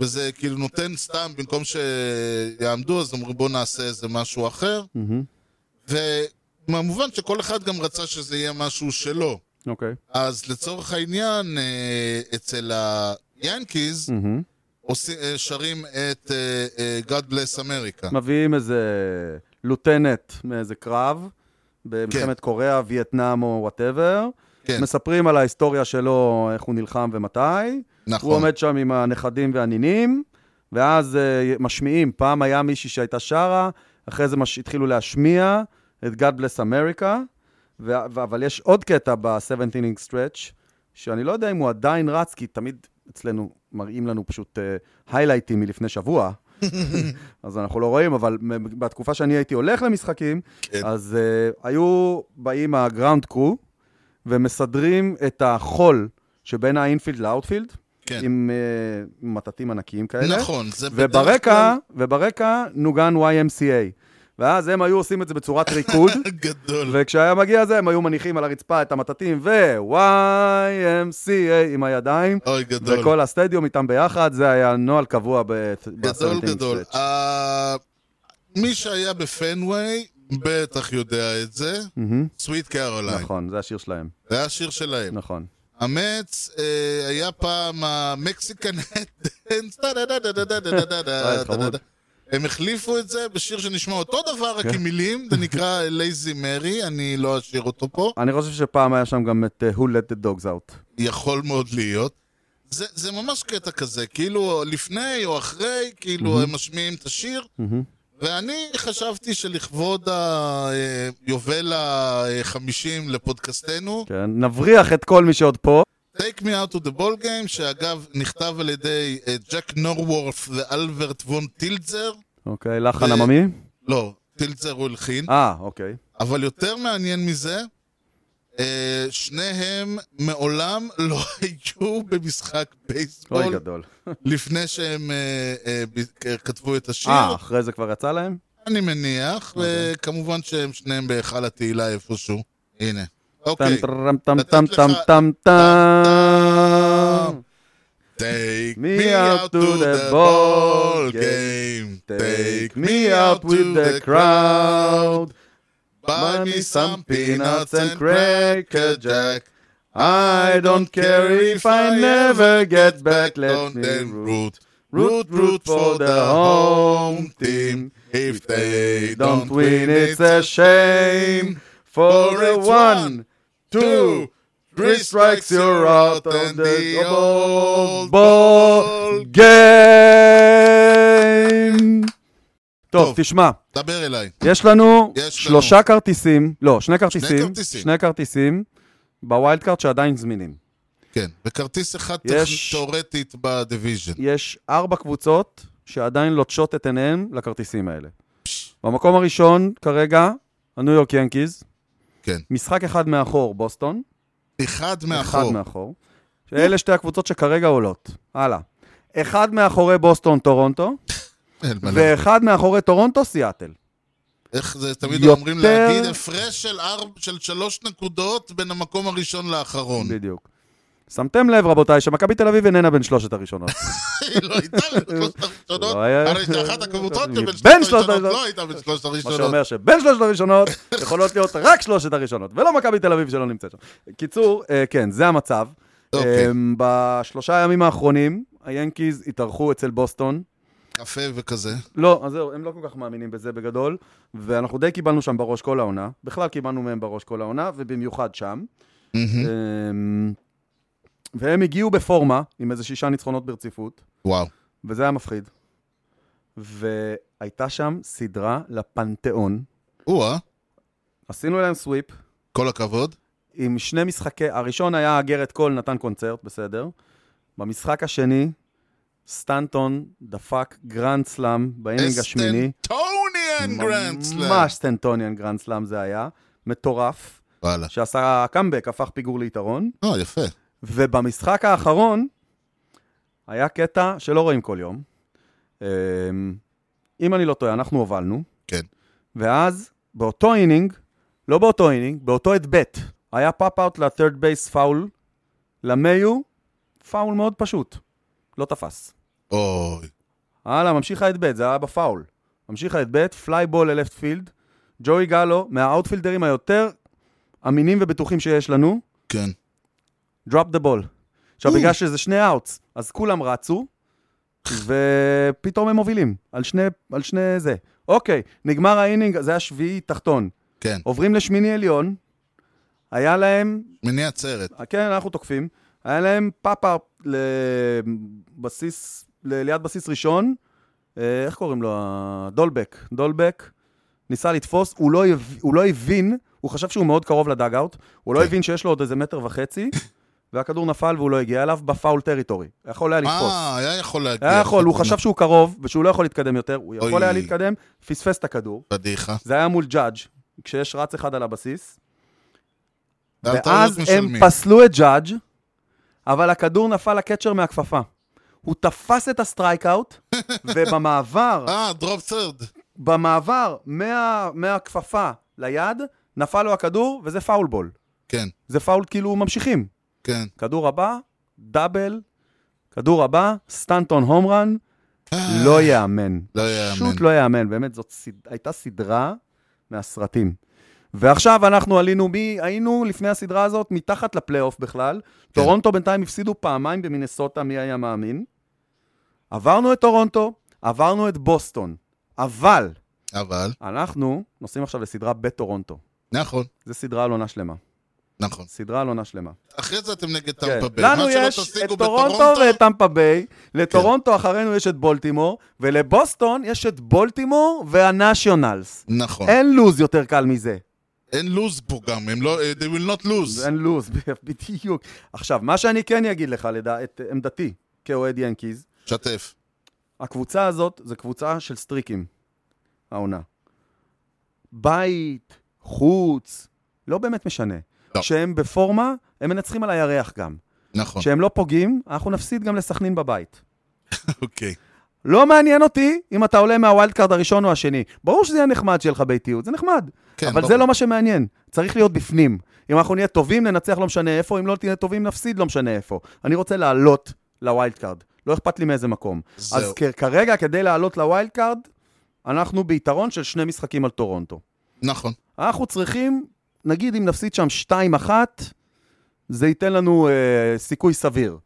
וזה כאילו נותן סתם, במקום שיעמדו, אז אמרו, בואו נעשה איזה משהו אחר, מהמם, וכמובן שכל אחד גם רצה שזה יהיה משהו שלו. אוקיי. אז לצורך העניין, אה, אצל היאנקיז מהמם. עושים- אה, שרים את אה, אה, God Bless America. מביאים איזה לוטנט מאיזה קרב במלחמת קוריאה, וייטנאם או וואטאבר. כן, מספרים על ההיסטוריה שלו, איך הוא נלחם ומתי. הוא נכון. עומד שם עם הנכדים והנינים, ואז אה, משמיעים, פעם היה מישהי שהייתה שרה, אחרי זה מש... התחילו להשמיע את God Bless America, ו... ו... אבל יש עוד קטע ב-17 inning stretch, שאני לא יודע אם הוא עדיין רץ, כי תמיד אצלנו מראים לנו פשוט אה, היילייטים מלפני שבוע. אז אנחנו לא רואים, אבל מ- בתקופה שאני הייתי הולך למשחקים, כן. אז uh, היו באים הגראונד קרו ומסדרים את החול שבין האינפילד לאוטפילד, כן. עם uh, מטטים ענקיים כאלה. נכון, זה בדרך וברקע, וברקע נוגן YMCA. ואז הם היו עושים את זה בצורת ריקוד, כלל גדול. וכשהיה מגיע זה, הם היו מניחים על הרצפה את המטטים, ו-YMCA עם הידיים, אוי, גדול. וכל הסטדיום איתם ביחד, זה היה נוהל קבוע ב-17 גדול גדול. אה, מי שהיה בפנוויי בטח יודע את זה, סוויט קרוליין. נכון, זה השיר שלהם, זה היה השיר שלהם. נכון. המץ אה, היה פעם המקסיקן דנס, אה, חמוד. הם החליפו את זה בשיר שנשמע אותו דבר, כן. רק עם מילים, זה נקרא לייזי מרי, אני לא אשאיר אותו פה, אני חושב שפעם היה שם גם את אה, Who Let the Dogs Out. יכול מאוד להיות. זה, זה ממש קטע כזה, כאילו לפני או אחרי, כאילו הם משמיעים את השיר, ואני חשבתי שלכבוד אה, היובל אה, ה-50 לפודקאסטנו, כן, נבריח את כל מי שעוד פה. Take me out to the ball game, שאגב נכתב על ידי אה, ג'ק נורווורף ואלברט וון טילדזר. אוקיי, לחן אה, עממי? לא, טילדזר הוא הלחין. אה, אוקיי. אבל יותר מעניין מזה, אה, שניהם מעולם לא היו במשחק אוי בייסבול גדול. לפני שהם אה, אה, ב- אה, כתבו את השיר. אה, אוקיי. אחרי זה כבר יצא להם? אני מניח, וכמובן שהם שניהם בהיכל התהילה איפשהו. הנה. טם אוקיי. טרם טם לתת טם לך- טם טם טם. Take me out to the ball game. Take me out with the crowd. Buy me some peanuts and cracker cracker jack. jack. I don't care if I never get back, let me root. Root, root for the home team. If they Don't win, it's a shame. For a one, two, three strikes, you're out on the old ball game. טוב, טוב. תשמע, דבר אליי. יש לנו יש לנו. שלושה כרטיסים, לא, שני כרטיסים, כרטיסים. שני כרטיסים בווילד קארט שעדיין זמינים. כן, וכרטיס אחד יש- תאורטית בדיוויז'ן. יש ארבע קבוצות שעדיין לוטשות את עיניהן לכרטיסים האלה. במקום הראשון כרגע, הניו יורק ינקיז. כן. משחק אחד מאחור, בוסטון. אחד אחד מאחור. מאחור. אלה שתי הקבוצות שכרגע עולות. הלאה. אחד מאחורי בוסטון, טורונטו, אין מה לעשות. ואחד מאחורי טורונטו, סיאטל. איך זה תמיד יותר- אומרים להגיד הפרש של ארבע- של שלוש נקודות בין המקום הראשון לאחרון. בדיוק. שמתם לב, רבותיי, שמכבי תל אביב איננה בין שלושת הראשונות. היא לא הייתה בין שלושת הראשונות, לא היה- הרי זה אחת הקבוצות בין שבין שלושת שלושת הראשונות הראשונות. לא הייתה בין שלושת מה הראשונות. שאומר שבין שלושת הראשונות יכולות להיות רק שלושת הראשונות, ולא מכבי תל אביב שלא נמצאת שם. קיצור, אה, כן, זה המצב. אוקיי. אה, בשלושה הימים האחרונים, היאנקיז התארחו אצל בוסטון. קפה וכזה. לא, אז זהו, הם לא כל כך מאמינים בזה בגדול, ואנחנו די קיבלנו שם בראש כל העונה. בכלל קיבלנו מהם בראש כל העונה, ובמיוחד שם. אמ, והם הגיעו בפורמה, עם איזה שישה ניצחונות ברציפות, וואו. וזה היה מפחיד. והייתה שם סדרה לפנתיאון. או-אה. עשינו להם סוויפ, כל הכבוד. עם שני משחקי, הראשון היה גרד קול נתן קונצרט, בסדר. במשחק השני, סטנטון דפק גרנד סלאם באינינג השמיני. אסטנטוניאן גרנדסלאם. ממש סטנטוניאן גרנד סלאם זה היה, מטורף, וואלה. שעשה קאמבק, הפך פיגור ליתרון. אה, יפה. ובמשחק האחרון, היה קטע שלא רואים כל יום. אמ, אם אני לא טועה, אנחנו הובלנו, כן. ואז באותו אינינג, לא באותו אינינג, באותו את ב', היה פאפ-אאוט ל-third base פאול, למיו, פאול מאוד פשוט, לא תפס. אוי. הלאה, ממשיך את ב', זה היה בפאול. ממשיך את ב', פליי בול ללפט פילד. ג'וי גלו, מהאוטפילדרים היותר אמינים ובטוחים שיש לנו, כן. דראפ דה בול. עכשיו, או. בגלל שזה שני אאוטס, אז כולם רצו, ופתאום הם מובילים, על שני, על שני זה. אוקיי, נגמר האינינג, זה היה שביעי תחתון. כן. עוברים לשמיני עליון, היה להם מניע עצרת. כן, אנחנו תוקפים. היה להם פאפה לבסיס, ל- ליד בסיס ראשון, אה, איך קוראים לו? ה- דולבק. דולבק ניסה לתפוס, הוא לא, הב... הוא לא הבין, הוא חשב שהוא מאוד קרוב לדאגאוט, הוא לא כן. הבין שיש לו עוד איזה מטר וחצי, והכדור נפל והוא לא הגיע אליו בפאול טריטורי. יכול היה לתפוס. אה, היה יכול להגיע. היה יכול, הוא חשב שהוא קרוב ושהוא לא יכול להתקדם יותר, הוא יכול אוי. היה להתקדם, פספס את הכדור. פדיחה. זה היה מול ג'אדג', כשיש רץ אחד על הבסיס. על טעויות ואז הם משלמים. פסלו את ג'אדג', אבל הכדור נפל לקצ'ר מהכפפה. הוא תפס את הסטרייקאוט, ובמעבר, אה, דרופ סרד. במעבר מה, מהכפפה ליד, נפל לו הכדור, וזה פאול בול. כן, זה פאול כאילו ממשיכים. כן. כדור הבא, דאבל, כדור הבא, סטנטון הומרן, לא יאמן. לא יאמן. פשוט לא יאמן, באמת, זאת סד... הייתה סדרה מהסרטים. ועכשיו אנחנו עלינו, מי... היינו לפני הסדרה הזאת מתחת לפלייאוף בכלל. כן. טורונטו בינתיים הפסידו פעמיים במינסוטה, מי היה מאמין? עברנו את טורונטו, עברנו את בוסטון, אבל אבל, אנחנו נוסעים עכשיו לסדרה בטורונטו. נכון, זו סדרה על עונה שלמה. נכון. סדרה על עונה שלמה. אחרי זה אתם נגד כן. טמפה ביי. לנו מה שלא יש את תשיגו טורונטו בטורונטו, כן. ואת טמפה ביי, לטורונטו אחרינו יש את בולטימור, ולבוסטון יש את בולטימור והנשיונלס. נכון. אין לוז יותר קל מזה. אין לוז פה גם, הם לא, they will not lose. אין לוז, בדיוק. עכשיו, מה שאני כן אגיד לך, לדע, את עמדתי כאוהד ינקיז, שתף. הקבוצה הזאת זו קבוצה של סטריקים, העונה. בית, חוץ, לא באמת משנה. לא. כשהם בפורמה, הם מנצחים על הירח גם. נכון, כשהם לא פוגעים, אנחנו נפסיד גם לסכנין בבית. אוקיי. לא מעניין אותי אם אתה עולה מהווילד קארד הראשון או השני. ברור שזה יהיה נחמד שיהיה לך ביתיות, זה נחמד. כן, אבל ברור. זה לא מה שמעניין, צריך להיות בפנים. אם אנחנו נהיה טובים, ננצח לא משנה איפה, אם לא תהיה טובים, נפסיד לא משנה איפה. אני רוצה לעלות לווילד קארד, לא אכפת לי מאיזה מקום. זהו. אז כן. כ- כרגע, כדי לעלות לווילד קארד, אנחנו ביתרון של שני משחקים על טורונטו. נכון. אנחנו צריכים, נגיד אם נפסיד שם 2-1, זה ייתן לנו אה, סיכוי סביר.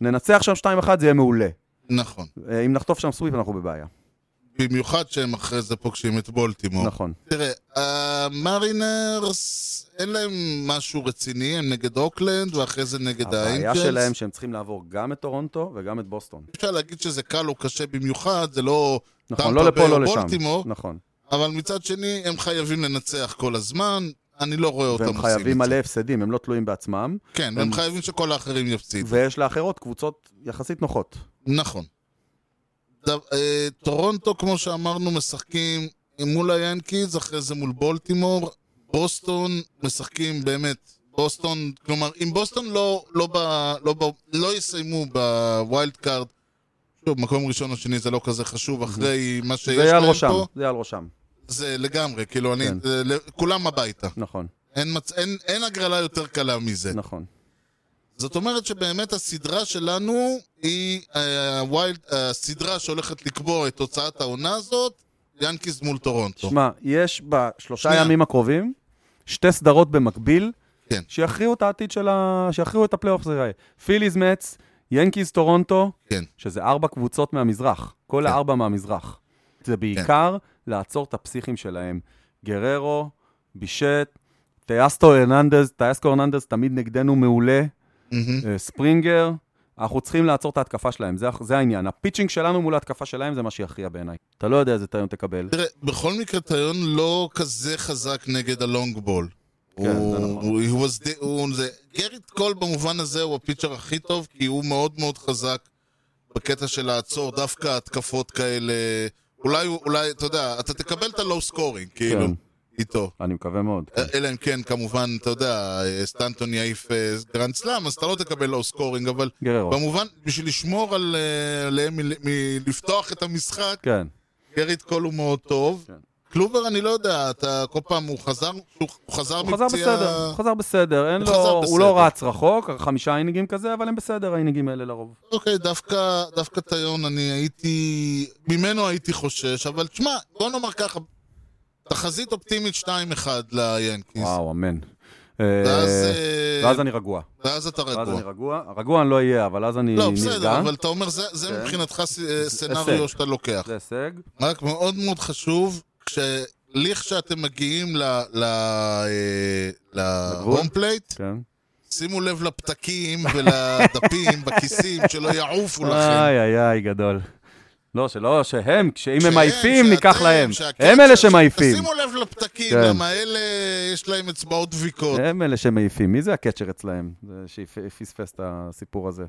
ננצח שם 2-1, זה יהיה מעולה. נכון. אה, אם נחטוף שם סוויפ, אנחנו בבעיה. במיוחד שהם אחרי זה פוגשים את בולטימור. נכון. תראה, המרינרס, אין להם משהו רציני, הם נגד אוקלנד, ואחרי זה נגד האנג'לס. הבעיה שלהם שהם צריכים לעבור גם את טורונטו וגם את בוסטון. אי אפשר להגיד שזה קל או קשה במיוחד, זה לא... נכון, טמפה לא לפה, ביי לא או לשם. בולטימור, נכון. אבל מצד שני, הם חייבים לנצח כל הזמן, אני לא רואה אותם והם עושים חייבים את מלא זה. הפסדים, הם לא תלויים בעצמם, כן, והם חייבים שכל האחרים יפסידו. ויש לאחרות קבוצות יחסית נוחות. נכון. ד- אה, טורונטו, כמו שאמרנו, משחקים מול היאנקיז, אחרי זה מול בולטימור. בוסטון משחקים באמת, בוסטון, כלומר, אם בוסטון לא, לא, ב, לא, ב, לא יסיימו בווילד קארד, שוב, מקום ראשון או שני זה לא כזה חשוב, אחרי מה שיש זה יהיה על להם ראשם, פה, זה יהיה על ראשם, זה לגמרי, כאילו, אני, כן. זה ל- כולם הביתה. נכון, אין, מצ... אין, אין הגרלה יותר קלה מזה. נכון. זאת אומרת שבאמת הסדרה שלנו היא אה, הווילד, הסדרה שהולכת לקבוע את תוצאת העונה הזאת, ינקיז מול טורונטו. שמע, יש בשלושה שנייה. ימים הקרובים שתי סדרות במקביל, כן. שיכריעו את העתיד של ה... שיכריעו את הפלייאוף זה יראה. פיליז מצ, ינקיז טורונטו, כן, שזה ארבע קבוצות מהמזרח, כל הארבע מהמזרח. זה כן. בעיקר לעצור את הפסיכים שלהם. גררו, בישט, טייסטו הרננדז, טייסקו הרננדז תמיד נגדנו מעולה, מהמם. אה, ספרינגר, אנחנו צריכים לעצור את ההתקפה שלהם, זה, זה העניין. הפיצ'ינג שלנו מול ההתקפה שלהם זה מה שיכריע בעיניי. אתה לא יודע איזה טעיון תקבל. תראה, בכל מקרה טיון לא כזה חזק נגד הלונג בול. כן, זה נכון. הוא, הוא, was the- הוא, זה, גריט קול במובן הזה הוא הפיצ'ר הכי טוב, כי הוא מאוד מאוד חזק בקטע של לעצור דווקא התקפות כאלה. אולי, הוא- אולי, אתה יודע, אתה תקבל את הלואו סקורינג, כאילו, כן. איתו. אני מקווה מאוד. אה, אלא אם כן, כמובן, אתה יודע, אה, סטנטון יעיף אה, גרנד סלאם, אז אתה לא תקבל לואו סקורינג, אבל גררו. במובן, בשביל לשמור על, אה, עליהם מל- מלפתוח את המשחק, כן. גריט קול הוא מאוד טוב. כן. קלובר, אני לא יודע, אתה כל פעם, הוא חזר, הוא הוא חזר הוא חזר מפציעה... בסדר, הוא חזר בסדר, אין הוא חזר לו, הוא בסדר. לא רץ רחוק, חמישה אינינגים כזה, אבל הם בסדר האינינגים האלה לרוב. אוקיי, דווקא, דווקא טיון, אני הייתי... ממנו הייתי חושש, אבל תשמע, בוא נאמר ככה, תחזית אופטימית 2-1 ליאנקיז. וואו, אמן. ואז, אה, אה, ואז אני רגוע. ואז אתה ואז אני רגוע. רגוע. רגוע אני לא אהיה, אבל אז אני לא, נרגע. בסדר, אבל אתה אומר, זה, זה כן. מבחינתך ס- אה, הישג. סצנריו שאתה לוקח. זה הישג. רק מאוד מאוד חשוב, כשלכשאתם מגיעים ל... ל... אה, לגבול? להום פלייט, כן. שימו לב לפתקים ולדפים בכיסים, שלא יעופו אה, לכם. איי איי איי, גדול. לא, שלא, שהם, כשאם הם שהם, מעיפים, ניקח שאתם, להם. שהקצב- הם אלה שמעיפים. שימו לב לפתקים, כן. גם האלה יש להם אצבעות דביקות. הם אלה שמעיפים. מי זה הקצ'ר אצלהם? זה שפספס את הסיפור הזה.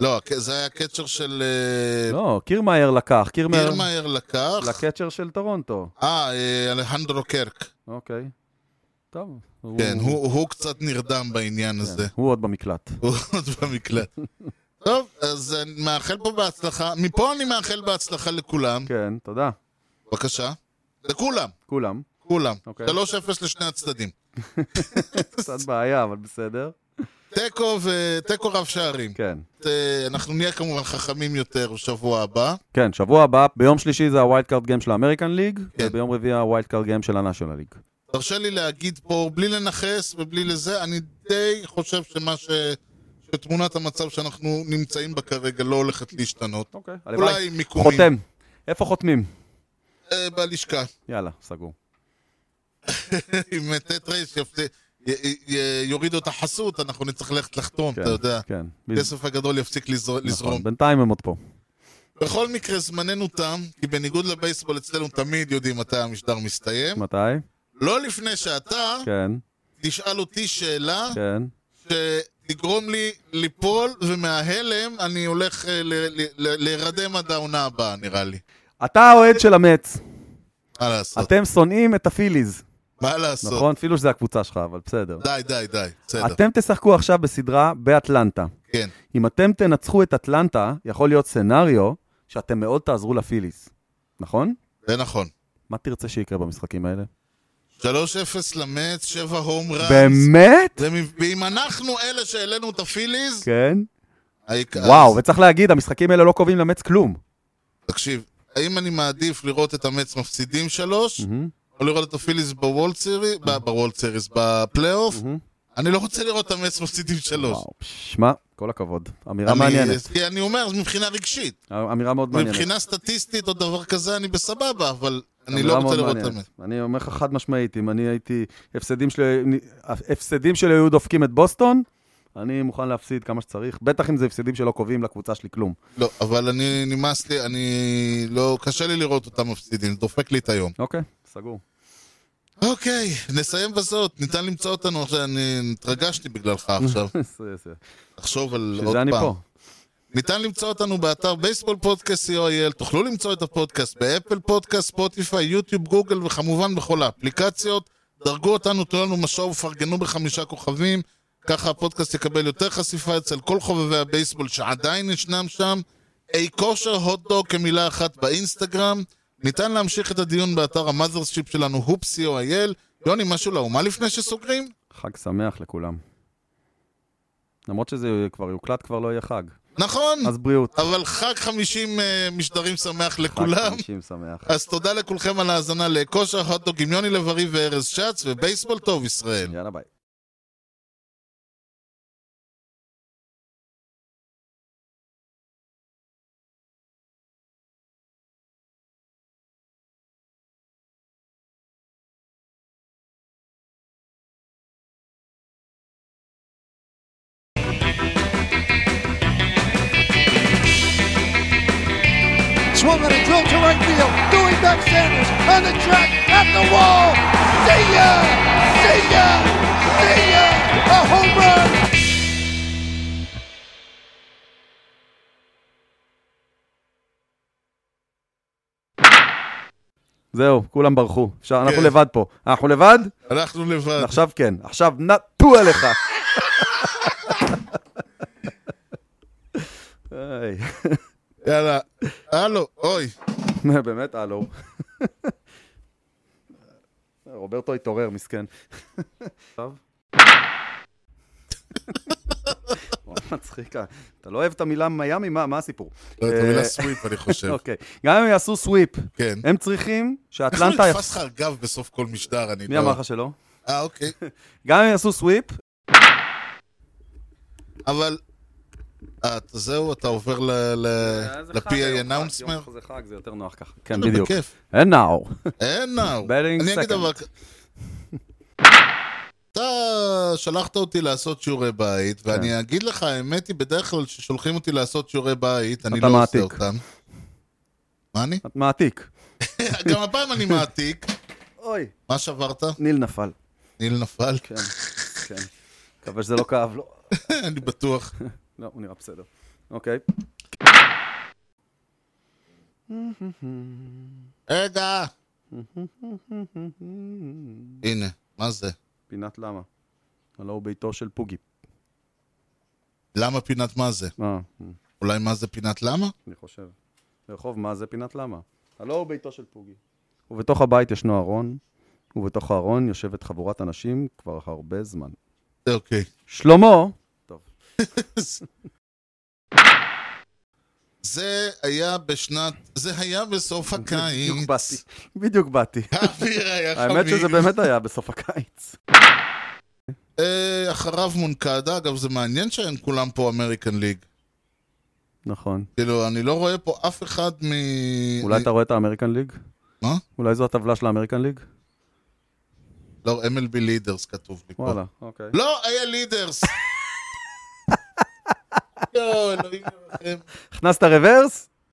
לא, הק- זה היה קצ'ר של אה, לא, קירמאייר לקח. קירמאייר פירמאייר לקח. לקצ'ר של טורונטו. אה, אה, אלחנדרו קרק. אוקיי. טוב. הוא- כן, הוא הוא קצת נרדם כן. בעניין הזה. הוא עוד במקלט. הוא עוד במקלט. טוב, אז אני מאחל פה בהצלחה. מפה אני מאחל בהצלחה לכולם. כן, תודה. בבקשה. לכולם, כולם. כולם. אוקיי. 3-0 לשני הצדדים. קצת בעיה, אבל בסדר. תיקו ו- תיקו רב שערים. כן. אה, אנחנו נהיה כמובן חכמים יותר בשבוע הבא. כן, שבוע הבא, ביום שלישי זה הווילד קארד גיים של האמריקן ליג, כן. וביום רביעי הווילד קארד גיים של הנאשונל ליג. תרשה לי להגיד פה, בלי לנכס ובלי לזה, אני די חושב שמה ש... שתמונת המצב שאנחנו נמצאים בה כרגע לא הולכת להשתנות. אוקיי. אולי עם מיקומים. חותם. איפה חותמים? אה, בלשכה. יאללה, סגור. אם ט' ר' יפת- י- י- י- יורידו את החסות, אנחנו נצטרך ללכת לחתום, כן, אתה יודע. כן. הכסף הגדול יפסיק לזר- נכון, לזרום. בינתיים הם עוד פה. בכל מקרה, זמננו תם, כי בניגוד לבייסבול אצלנו תמיד יודעים מתי המשדר מסתיים. מתי? לא לפני שאתה כן, תשאל אותי שאלה כן. שתגרום לי ליפול, ומההלם אני הולך אה, ל- ל- ל- להירדם עד העונה הבאה, נראה לי. אתה האוהד של המץ. מה לעשות? אתם שונאים את הפיליז. מה לעשות? נכון? אפילו שזה הקבוצה שלך, אבל בסדר. די, די, די, בסדר. אתם תשחקו עכשיו בסדרה באטלנטה. כן. אם אתם תנצחו את אטלנטה, יכול להיות סנאריו שאתם מאוד תעזרו לפיליז. נכון? זה נכון. מה תרצה שיקרה במשחקים האלה? 3-0 למץ, 7 הום ראנס. באמת? זה מ- ואם אנחנו אלה שהעלינו את הפיליז, כן. העיקר- וואו, וצריך להגיד, המשחקים האלה לא קובעים למץ כלום. תקשיב, האם אני מעדיף לראות את המץ מפסידים שלוש, מהמם. או לראות את הפיליז בוולד סיריס, Mm-hmm. ב- בוולד סיריס, בפלייאוף? מהמם. אני לא רוצה לראות את המץ מפסידים שלוש. Mm-hmm. וואו, שמע, כל הכבוד. אמירה אני- מעניינת. כי אני אומר, מבחינה רגשית. אמירה מאוד מעניינת. מבחינה סטטיסטית או דבר כזה, אני בסבבה, אבל אני אמירה לא רוצה מאוד לראות את מעניינת. המץ. אני אומר לך חד משמעית, אם אני הייתי... הפסדים שלי- הפסדים שלי היו דופקים את בוסטון, אני מוכן להפסיד כמה שצריך, בטח אם זה הפסדים שלא קובעים לקבוצה שלי כלום. לא, אבל אני נמאס לי, אני לא... קשה לי לראות אותם מפסידים, זה דופק לי את היום. אוקיי, סגור. אוקיי, נסיים בזאת. ניתן למצוא אותנו עכשיו, אני התרגשתי בגללך Mm-hmm. עכשיו. זה- זה- תחשוב על עוד בשביל פעם. זה אני פה. ניתן למצוא אותנו באתר בייסבול פודקאסט co.il, תוכלו למצוא את הפודקאסט באפל פודקאסט, ספוטיפיי, יוטיוב, גוגל וכמובן בכל האפליקציות. דרגו אותנו, תנו לנו משוב ופרגנו בחמישה כוכבים, ככה הפודקאסט יקבל יותר חשיפה אצל כל חובבי הבייסבול שעדיין ישנם שם. אי כושר הוטדוג כמילה אחת באינסטגרם. ניתן להמשיך את הדיון באתר המאזרשיפ שלנו, הופ co.il. יוני, משהו לאומה לפני שסוגרים? חג שמח לכולם. למרות שזה כבר יוקלט, כבר לא יהיה חג. נכון, אז בריאות. אבל חג 50 אה, משדרים שמח חג לכולם. חמישים שמח. אז תודה לכולכם על ההאזנה לכושר הוטדוג עם יוני לב-ארי וארז שץ, ובייסבול טוב ישראל. יאללה ביי. Swung on a drill to right field. Doing back Sanders on the track at the wall. See ya! See ya! Mania! A home run! זהו, כולם ברחו. אפשר, אנחנו כן. לבד פה. אנחנו לבד? אנחנו לבד. עכשיו כן. עכשיו נטו עליך. היי. יאללה. הלו, אוי. אה, באמת, הלו. רוברטו התעורר, מסכן. טוב. וואי, מצחיק, אתה לא אוהב את המילה מיאמי? מה מה הסיפור? לא, את המילה אה, סוויפ, אני חושב. אוקיי. גם אם הם יעשו סוויפ, כן. הם צריכים איך לא שאטלנטה... נתפס לך על גב בסוף כל משדר, אני לא... מי אמר לך שלא? אה, אוקיי. גם אם הם יעשו סוויפ, אה, אבל... אה, אתה- זהו, אתה עובר אה, ל-PA announcement? לא, זה חג, זה יותר נוח ככה. כן, בדיוק. בכיף. And now. אין נאו. Betting אני אגיד second. דבר כזה. אתה שלחת אותי לעשות שיעורי בית, כן. ואני אגיד לך, האמת היא, בדרך כלל כששולחים אותי לעשות שיעורי בית, אני אתה לא עושה מעתיק. אותם. מה אני? את מעתיק. גם הפעם אני מעתיק. אוי, מה שברת? ניל נפל. ניל נפל? כן, כן. מקווה שזה לא כאב לו. אני בטוח. לא, הוא נראה בסדר. אוקיי. רגע! הנה, מה זה? פינת למה? הלא הוא ביתו של פוגי. למה פינת מה זה? אה, אולי מה זה פינת למה? אני חושב. רחוב מה זה פינת למה? הלא הוא ביתו של פוגי. ובתוך הבית ישנו ארון, ובתוך הארון יושבת חבורת אנשים כבר הרבה זמן. אוקיי. שלמה! טוב. זה היה בשנת... זה היה בסוף הקיץ. בדיוק באתי. בדיוק באתי. האוויר היה חמים. האמת שזה באמת היה בסוף הקיץ. אה, אחריו מונקדה, אגב, זה מעניין שהם כולם פה אמריקן ליג. נכון. כאילו, אני לא רואה פה אף אחד מ... אולי אני- אתה רואה את האמריקן ליג? מה? אולי זו הטבלה של האמריקן ליג? לא, MLB לידרס כתוב לי פה. וואלה, אוקיי. לא, היה לידרס. יואו, לא, אלוהים ירחם. הכנסת רוורס?